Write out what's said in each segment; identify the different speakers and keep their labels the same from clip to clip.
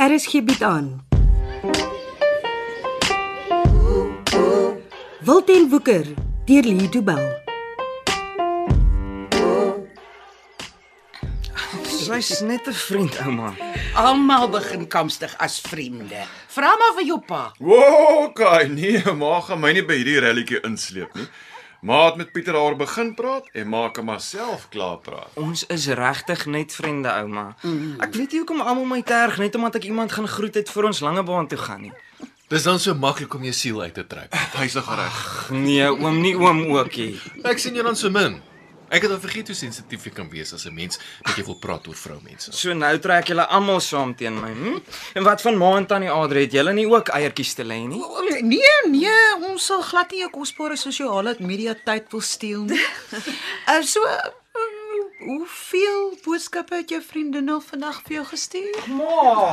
Speaker 1: RSG bied Er aan. Wilten Woeker deur Lee Du Bell.
Speaker 2: Sy's net 'n vriend, ouma.
Speaker 3: Almal begin kamstig as vriende. Vra maar vir jou pa.
Speaker 4: Wow, Kai, nee, ma gaan my nie by hierdie relletjie insleep nie. Ma het met Pieter haar begin praat en ma kan maar self klaar praat.
Speaker 2: Ons is regtig net vriende, ouma. Ek weet nie hoekom almal my terg net omdat ek iemand gaan groet het vir ons langebaan toe gaan nie.
Speaker 5: Dis dan so maklik om jou siel uit te trek.
Speaker 4: Hy's nog reg.
Speaker 2: Nee, oom nie oom ookie.
Speaker 5: Ek sien jou dan so min. Ek het al vergeet hoe sensitief jy kan wees as 'n mens wat jy wil praat oor vroumense.
Speaker 2: So nou trek julle almal saam teen my. Hm? En wat van ma en tannie Adre het julle nie ook eiertjies te lê nie?
Speaker 3: Nee, nee, ons sal glad nie jou kosbare sosiale media tyd wil steel nie.
Speaker 6: Uh, so uh, hoeveel boodskappe het jou vriendin al vandag vir jou gestuur?
Speaker 2: Ma,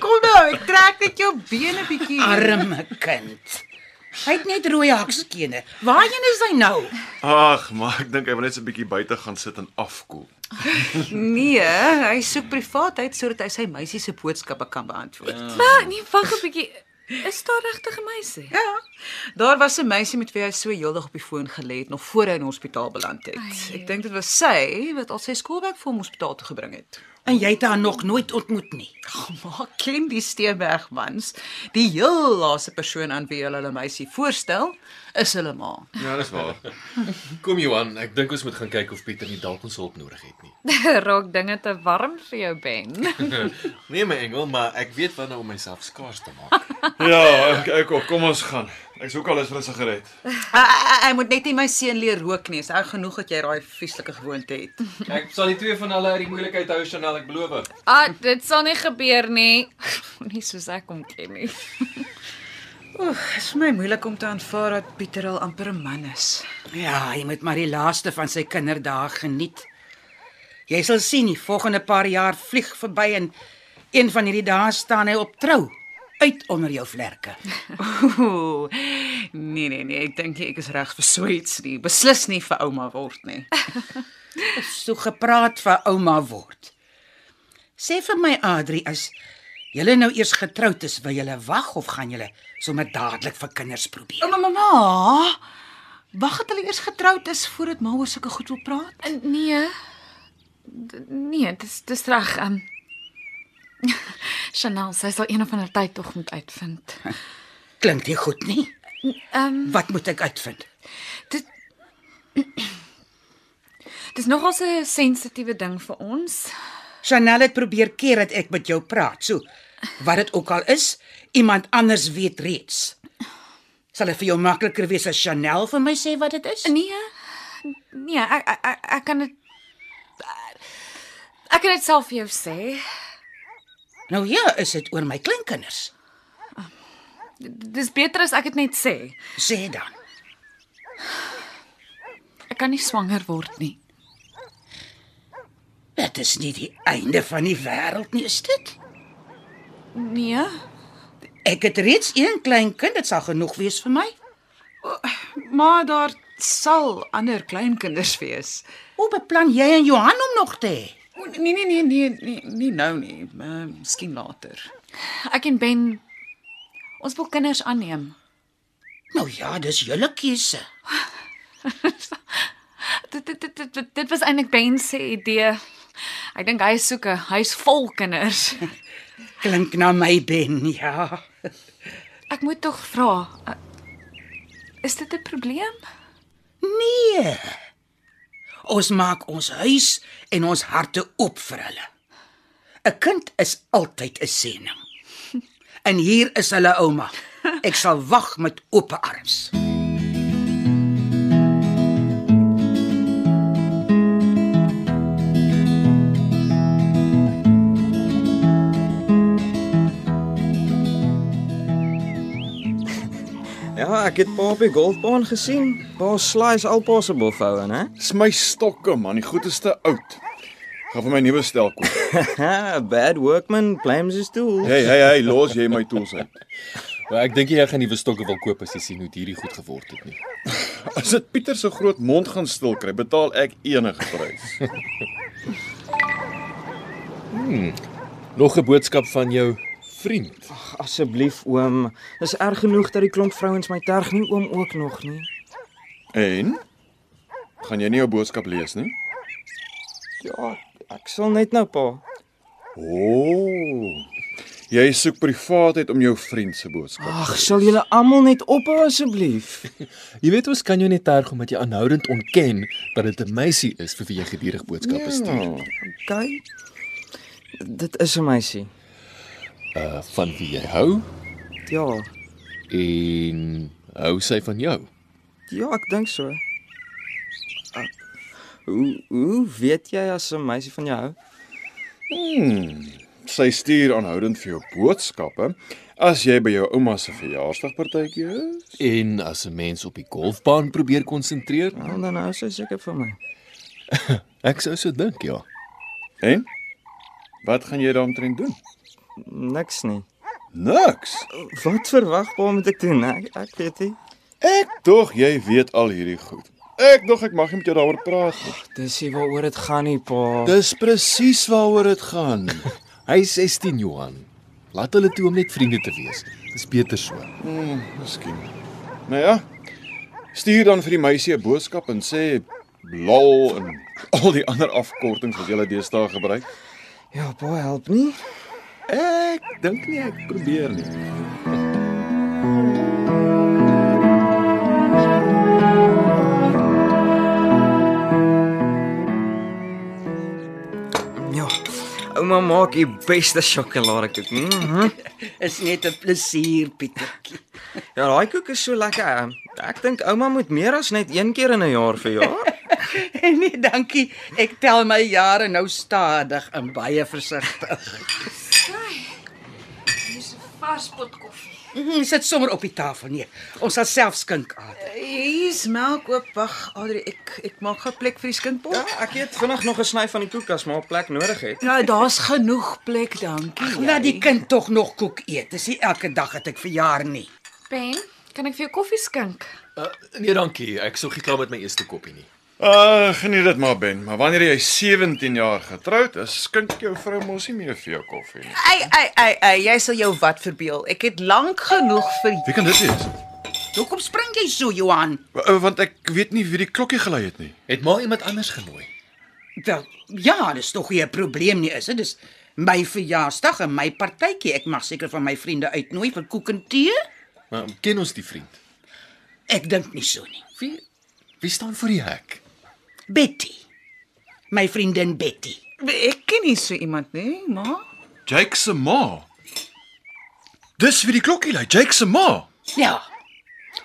Speaker 6: Kom nou, ek trek net jou bene bietjie.
Speaker 3: Arme kind. Hy het net rooi hakskene. Waarheen is hy nou?
Speaker 4: Ag, maar ek dink hy wil net so 'n bietjie buite gaan sit en afkoel.
Speaker 6: Nee, hy soek privaatheid sodat hy sy meisie se boodskappe kan
Speaker 1: Ja.
Speaker 6: beantwoord.
Speaker 7: Maar nee, wag 'n bietjie. Is daar regtig 'n meisie?
Speaker 6: Ja. Daar was 'n meisie met wie hy so heeldag op die foon gelê het nog voor hy in die hospitaal beland het. Ek dink dit was sy wat al sy skoolwerk vir hom hospitaal toe gebring het. Oh,
Speaker 3: En jy het haar nog nooit ontmoet nie.
Speaker 6: Maar ken die Steenbergmans, die heel laaste persoon aan wie hulle hulle meisie voorstel, is hulle ma.
Speaker 4: Ja, dis waar.
Speaker 5: Kom Johan, ek dink ons moet gaan kyk of Pieter nie dalk ons hulp nodig het nie.
Speaker 7: Raak dinge te warm vir jou, Ben.
Speaker 5: Nee my engel, maar ek weet wanneer om myself skaars te maak.
Speaker 4: Ja, ek ek ook. Kom ons gaan. Ek soek al eens vir 'n sigaret.
Speaker 6: Hy moet net nie my seun leer rook nie. Is erg genoeg dat jy daai vieslike gewoonte het.
Speaker 8: Ek sal die twee van hulle uit die moeilikheid hou, Chanel, ek beloof.
Speaker 7: Ah, dit sal nie gebeur nie. Nie soos ek hom ken nie.
Speaker 6: Oeg, is vir my moeilik om te aanvaar dat Pieter al amper 'n man is.
Speaker 3: Ja, hy moet maar die laaste van sy kinderdae geniet. Jy sal sien, die volgende paar jaar vlieg verby en een van hierdie dae staan hy op trou uit onder jou vlerke.
Speaker 6: Ooh. Nee nee nee, ek dink nie ek is reg vir so iets nie. Beslis nie vir ouma word nie.
Speaker 3: So gepraat van ouma word. Sê vir my Adri as julle nou eers getroud is, wil julle wag of gaan julle sommer dadelik vir kinders probeer?
Speaker 6: Ouma mamma. Wag het hulle eers getroud is voordat ma oor sulke goed wil praat?
Speaker 7: Eh, Nee. D- Nee, dis dis reg. Um Chanel, sy sal een of ander tyd tog moet uitvind.
Speaker 3: Klink dit goed nie?
Speaker 6: ehm,
Speaker 7: Um
Speaker 3: Wat moet ek uitvind?
Speaker 7: dit Dis nogal 'n sensitiewe ding vir ons.
Speaker 3: Chanel het probeer keer dat ek met jou praat. So, wat dit ook al is, iemand anders weet reeds. Sal dit vir jou makliker wees as Chanel vir my sê wat dit is?
Speaker 7: Nee. Nee, ek ek- ek ek kan dit Ek kan dit self vir jou sê.
Speaker 3: Nou ja, is dit oor my kleinkinders.
Speaker 7: D- Dis beter as ek dit net sê.
Speaker 3: Sê dan.
Speaker 7: Ek kan nie swanger word nie.
Speaker 3: Dit is nie die einde van die wêreld nie, is dit?
Speaker 7: Nee.
Speaker 3: Ek het reeds een kleinkind, dit sal genoeg wees vir my.
Speaker 6: Maar daar sal ander kleinkinders wees.
Speaker 3: Hoe beplan jy en Johan om nog te hê?
Speaker 6: O, Nee nee nee nee nee, nie nou nie, maar miskien later.
Speaker 7: Ek en Ben ons wil kinders aanneem.
Speaker 3: Nou ja, dis julle keuse.
Speaker 7: Dit dit dit dit, dit was eintlik Ben se idee. Ek dink hy soek 'n huis vol kinders.
Speaker 3: Klink na my ben, ja.
Speaker 7: Ek moet tog vra. uh, Is dit 'n probleem?
Speaker 3: Nee. Ons maak ons huis en ons harte oop vir hulle. 'n Kind is altyd 'n seëning. En hier is hulle ouma. Ek sal wag met oop arms.
Speaker 2: Ja, ek het pa op die golfbaan gesien. Pa slice all possible foue, hè?
Speaker 4: Dis my stokke, man. Die goed is te oud. Gaan vir my nuwe stel koop.
Speaker 2: Bad workman blames his tool.
Speaker 4: Hey, hey, hey, los jy my tools uit.
Speaker 5: Maar Nou, ek dink nie jy gaan nuwe stokke wil koop as jy sien hoe dit hierdie goed geword het nie.
Speaker 4: As dit Pieter se groot mond gaan stil kry, betaal ek enige prys.
Speaker 5: Nog 'n boodskap van jou vriend.
Speaker 2: Ag, Asseblief oom, dis erg genoeg dat die klomp vrouens my terg nie oom ook nog nie.
Speaker 4: En gaan jy nie jou boodskap lees nie?
Speaker 2: Ja, ek sal net nou pa.
Speaker 4: Ooh. Oh. Jy soek privaatheid om jou vriend se boodskap.
Speaker 2: Ag, sal julle almal net ophou asseblief.
Speaker 5: Jy weet ons kan jou net terg omdat jy aanhoudend ontken dat dit 'n meisie is vir wie jy gedurig boodskappe
Speaker 4: Ja.
Speaker 5: stuur.
Speaker 2: Okay. Dit is 'n meisie.
Speaker 5: Uh van wie jy hou
Speaker 2: Ja.
Speaker 5: en hou sy van jou.
Speaker 2: Ja, ek dink so. Ah, Hoe hoe weet jy as 'n meisie van jou hou?
Speaker 4: Sy stuur aanhoudend vir jou boodskappe as jy by jou ouma se verjaarsdagpartytjie is.
Speaker 5: En as 'n mens op die golfbaan probeer konsentreer,
Speaker 2: Nou, dan hou sy seker van my.
Speaker 5: ek sou so dink, ja.
Speaker 4: En wat gaan jy daaromtrent doen?
Speaker 2: Niks nie.
Speaker 4: Niks.
Speaker 2: Wat verwag pa moet ek doen? Ek, ek weet nie.
Speaker 4: Ek tog jy weet al hierdie goed. Ek dog ek mag nie met jou daaroor praat nie.
Speaker 2: Dis nie waaroor dit gaan nie, pa.
Speaker 4: Dis presies waaroor dit gaan.
Speaker 5: Hy is 16, Johan. Laat hulle toe om net vriende te wees. Dis beter so.
Speaker 4: Miskien. Nou ja. Stuur dan vir die meisie 'n boodskap en sê lol en al die ander afkortings wat jy deesdae gebruik.
Speaker 2: Ja, pa help nie.
Speaker 4: Ek dink nie ek probeer nie.
Speaker 2: Ja. Ouma maak die beste sjokoladekoek. Mm -hmm.
Speaker 3: Is net 'n plesier, Pietertjie.
Speaker 2: Ja, daai koek is so lekker. Ek dink ouma moet meer as net een keer in 'n jaar verjaar.
Speaker 3: En nee, dankie. Ek tel my jare nou stadig en baie versigtig.
Speaker 7: Hier's 'n vars pot koffie.
Speaker 3: Mm, Sit sommer op die tafel nee. Ons sal self skink
Speaker 6: Eh,
Speaker 3: aan.
Speaker 6: Hier's melk oop. Wag, Adri, ek ek maak gou plek vir die skinkpot.
Speaker 2: Ja, ek het vinnig nog 'n sny van die koek as maar plek nodig het.
Speaker 6: Ja, daar's genoeg plek, dankie.
Speaker 3: Laat die kind tog nog koek eet. Dis nie elke dag dat ek verjaar nie.
Speaker 7: Ben, kan ek vir jou koffie skink?
Speaker 5: Uh, nee, dankie. Ek sou geklaar met my eerste koppie nie.
Speaker 4: Ag, Ah, geniet dit maar Ben, maar wanneer jy 17 jaar getroud is, skink jou vrou mos nie meer vir jou koffie nie.
Speaker 6: Ai ai ai ai, jy sal jou wat verbeel. Ek het lank genoeg vir
Speaker 4: Wie kan dit wees?
Speaker 3: Hoekom spring jy so, Johan?
Speaker 4: Wa- eh, Want ek weet nie wie die klokkie gelei het nie.
Speaker 5: Het maar iemand anders genooi.
Speaker 3: Wel, ja, dis tog nie 'n probleem nie, is dit? Dis my verjaarsdag en my partytjie. Ek mag seker van my vriende uitnooi vir koek en tee?
Speaker 5: Maar ken ons die vriend?
Speaker 3: Ek dink nie so nie.
Speaker 5: Wie wie staan voor die hek?
Speaker 3: Betty. My vriendin Betty.
Speaker 6: Nee, ek ken nie so iemand nie, maar
Speaker 4: Jake se ma. Dis wie die klokkie lui, Jake se ma.
Speaker 3: Ja.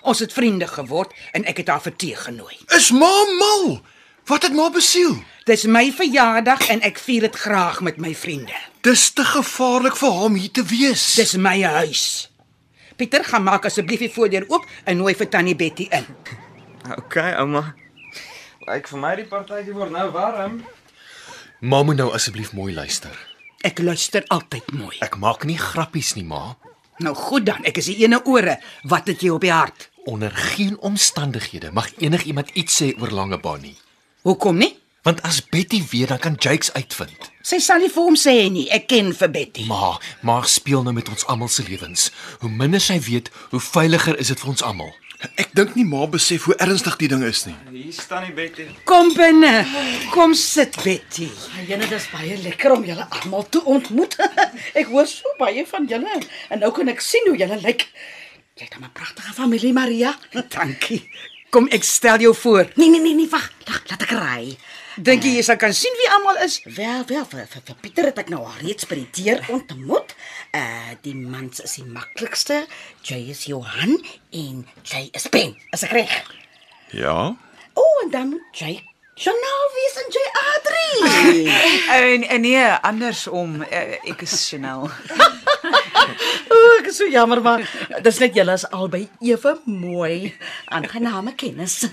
Speaker 3: Ons het vriende geword en ek het haar vir tee genooi.
Speaker 4: Is ma mal? Wat het ma besiel?
Speaker 3: Dis my verjaardag en ek vier dit graag met my vriende.
Speaker 4: Dis te gevaarlik vir hom hier te wees.
Speaker 3: Dis my huis. Pieter, gaan maak asseblief die voordeur oop en nooi vir tannie Betty in.
Speaker 2: Okay, ouma. Lyk vir my die partytjie word nou warm.
Speaker 5: Ma moet nou asseblief mooi luister.
Speaker 3: Ek luister altyd mooi.
Speaker 5: Ek maak nie grappies nie, ma.
Speaker 3: Nou goed dan, ek is die ene ore. Wat het jy op die hart?
Speaker 5: Onder geen omstandighede mag enigiemand iets sê oor Langebaan nie.
Speaker 3: Hoekom nie?
Speaker 5: Want as Betty weet, dan kan Jakes uitvind.
Speaker 3: Sy sal nie vir hom sê nie. Ek ken vir Betty.
Speaker 5: Ma, ma speel nou met ons almal se lewens. Hoe minder sy weet, hoe veiliger is dit vir ons almal.
Speaker 4: Ek dink nie ma besef hoe ernstig die ding is nie.
Speaker 2: Hier staan die Betty.
Speaker 3: Kom binne. Kom sit, Betty.
Speaker 9: Jene, Ah, dit is baie lekker om julle almal te ontmoet. ek hoor so baie van julle en nou kan ek sien hoe julle lyk. Jy het 'n pragtige familie, Maria.
Speaker 3: Dankie. Kom ek stel jou voor.
Speaker 9: Nee, nee, nee, nee, wag. Wag, laat ek raai.
Speaker 3: Dink jy jy sal kan sien wie almal is?
Speaker 9: Wel, wel, vir, vir, vir Pieter het ek nou al reeds by die deur ontmoet. Uh die mans is die maklikste. Jy is Johan en jy is Ben. Is ek reg?
Speaker 4: Ja.
Speaker 9: O, oh, en dan moet jy Chanel wees en jy Adri.
Speaker 6: en, en nee, andersom. Eh, Ek is Chanel.
Speaker 9: O, ek is so jammer maar dis net julle is albei ewe mooi. Aangename kennis.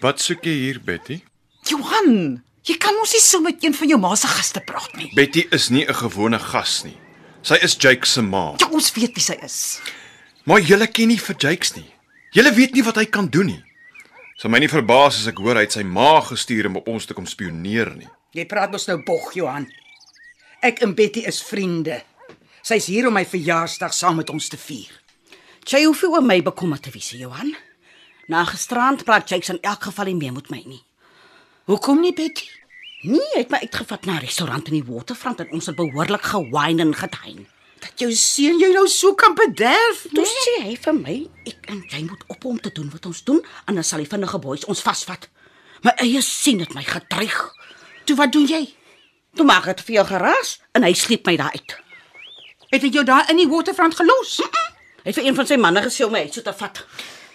Speaker 4: Wat soek jy hier, Betty?
Speaker 6: Johan, jy kan mos nie so met een van jou ma se gaste praat nie.
Speaker 4: Betty is nie 'n gewone gas nie. Sy is Jake se ma.
Speaker 6: Ja, ons weet wie sy is.
Speaker 4: Maar julle ken nie vir Jakes nie. Julle weet nie wat hy kan doen nie. Sal my nie verbaas as ek hoor hy het sy ma gestuur om op ons te kom spioneer nie.
Speaker 3: Jy praat mos nou bog, Johan. Ek en Betty is vriende.
Speaker 2: Sy's hier om my verjaarsdag saam met ons te vier.
Speaker 3: Jy hoef nie oor my bekommerd te wees, Johan. Na gisterand praat Jakes in elk geval nie meer met my nie.
Speaker 2: Hoekom nie, Betty?
Speaker 3: Nee, hy het my uitgevat na 'n restaurant in die waterfront en ons het behoorlik gewine en gedine.
Speaker 2: Dat jou seun jou nou so kan bederf.
Speaker 3: Toe sê hy vir my, ek en jy moet op om te doen wat ons doen, anders sal die vinnige boeis ons vasvat. My eie sien dit my gedreig.
Speaker 2: Toe wat doen jy?
Speaker 3: Toe maak dit veel geraas en hy sleep my daar uit.
Speaker 2: Het hy jou daar in die waterfront gelos?
Speaker 3: Hy het vir een van sy manne gesê om my uit so te vat.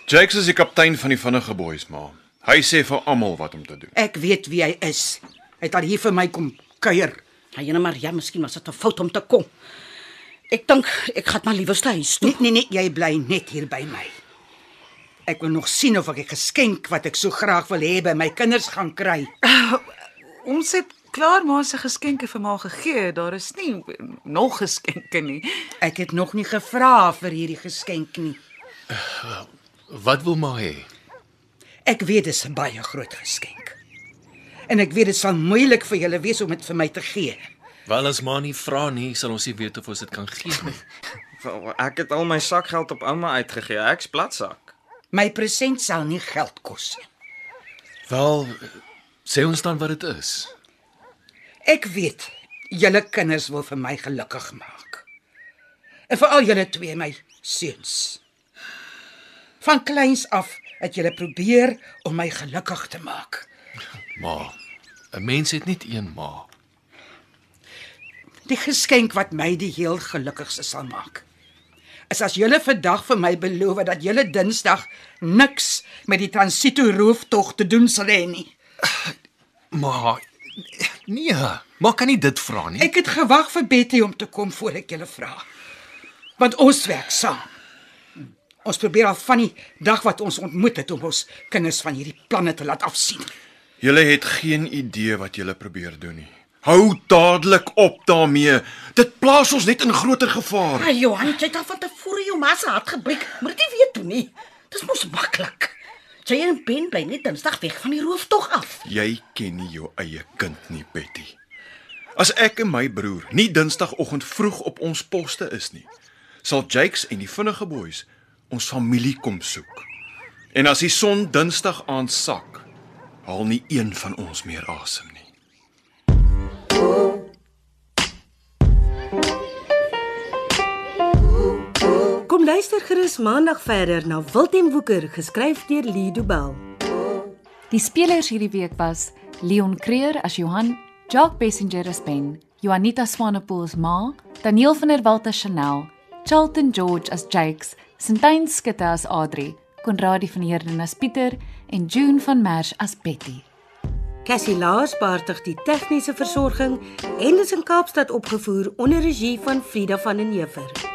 Speaker 4: Jakes is die kaptein van die vinnige boeis maar. Hy sê vir almal wat om te doen.
Speaker 2: Ek weet wie hy is. Hy het al hier vir my kom kuier.
Speaker 3: Hy en Maria, ja, miskien was dit 'n fout om te kom. Ek dink ek gaan maar liewer huis toe.
Speaker 2: Nee, nee, nee, jy bly net hier by my. Ek wil nog sien of ek 'n geskenk wat ek so graag wil hê by my kinders gaan kry.
Speaker 6: Ons het klaar maar se geskenke vir ma gegee. Daar is nie eh, nog geskenke nie.
Speaker 2: Ek het nog nie gevra vir hierdie geskenk nie.
Speaker 5: Wat wil maar hê?
Speaker 2: Ek weet dis 'n baie groot geskenk. En ek weet dit sal moeilik vir julle wees om dit vir my te gee.
Speaker 5: Wel as maar nie vra nie, sal ons nie weet of ons dit kan gee nie.
Speaker 10: Wel, Ek het al my sakgeld op ouma uitgegee. Ek's platsak.
Speaker 2: My present sal nie geld kos nie.
Speaker 5: Wel, sê ons dan wat dit is.
Speaker 2: Ek weet julle kinders wil vir my gelukkig maak. En veral julle twee my seuns. Van kleins af het julle probeer om my gelukkig te maak.
Speaker 5: Ma, 'n mens het net een ma.
Speaker 2: Die geskenk wat my die heel gelukkigste sal maak. Is as julle vandag vir my beloof dat julle Dinsdag niks met die transito rooftog te doen sal hê nie.
Speaker 5: Ma, nee, ma kan nie dit vra nie.
Speaker 2: Ek het gewag vir Betty om te kom voor ek julle vra. Want ons werk saam. Ons probeer al van die dag wat ons ontmoet het om ons kinders van hierdie planne te laat afsien.
Speaker 4: Julle het geen idee wat julle probeer doen nie. Hou dadelik op daarmee. Dit plaas ons net in groter gevaar.
Speaker 3: Ai Ah, Johan, jy het al van tevore jou ma se hart gebreek. Moet dit weet doen nie. Dis mos maklik. Jy en Ben bly net Dinsdag weg van die rooftog af.
Speaker 4: Jy ken nie jou eie kind nie, Betty. As ek en my broer nie Dinsdagoggend vroeg op ons poste is nie, sal Jakes en die vinnige boeis ons familie kom soek. En as die son Dinsdag aand sak, haal nie een van ons meer asem nie.
Speaker 1: Kom luister gerus maandag verder na Wilten Woeker geskryf deur Lido Bell.
Speaker 7: Die spelers hierdie week was Leon Creer as Johan, Jacques Passenger as Ben, Juanita Swanepoel as Ma, Daniel van der Walt as Chanel, Charlton George as Jakes, Sintyn Skutte as Adri, Konradi van Heerden as Pieter en June van Merwe as Betty.
Speaker 1: Cassie Lars baartig die tegniese versorging en is in Kaapstad opgevoer onder regie van Frida van den Heever.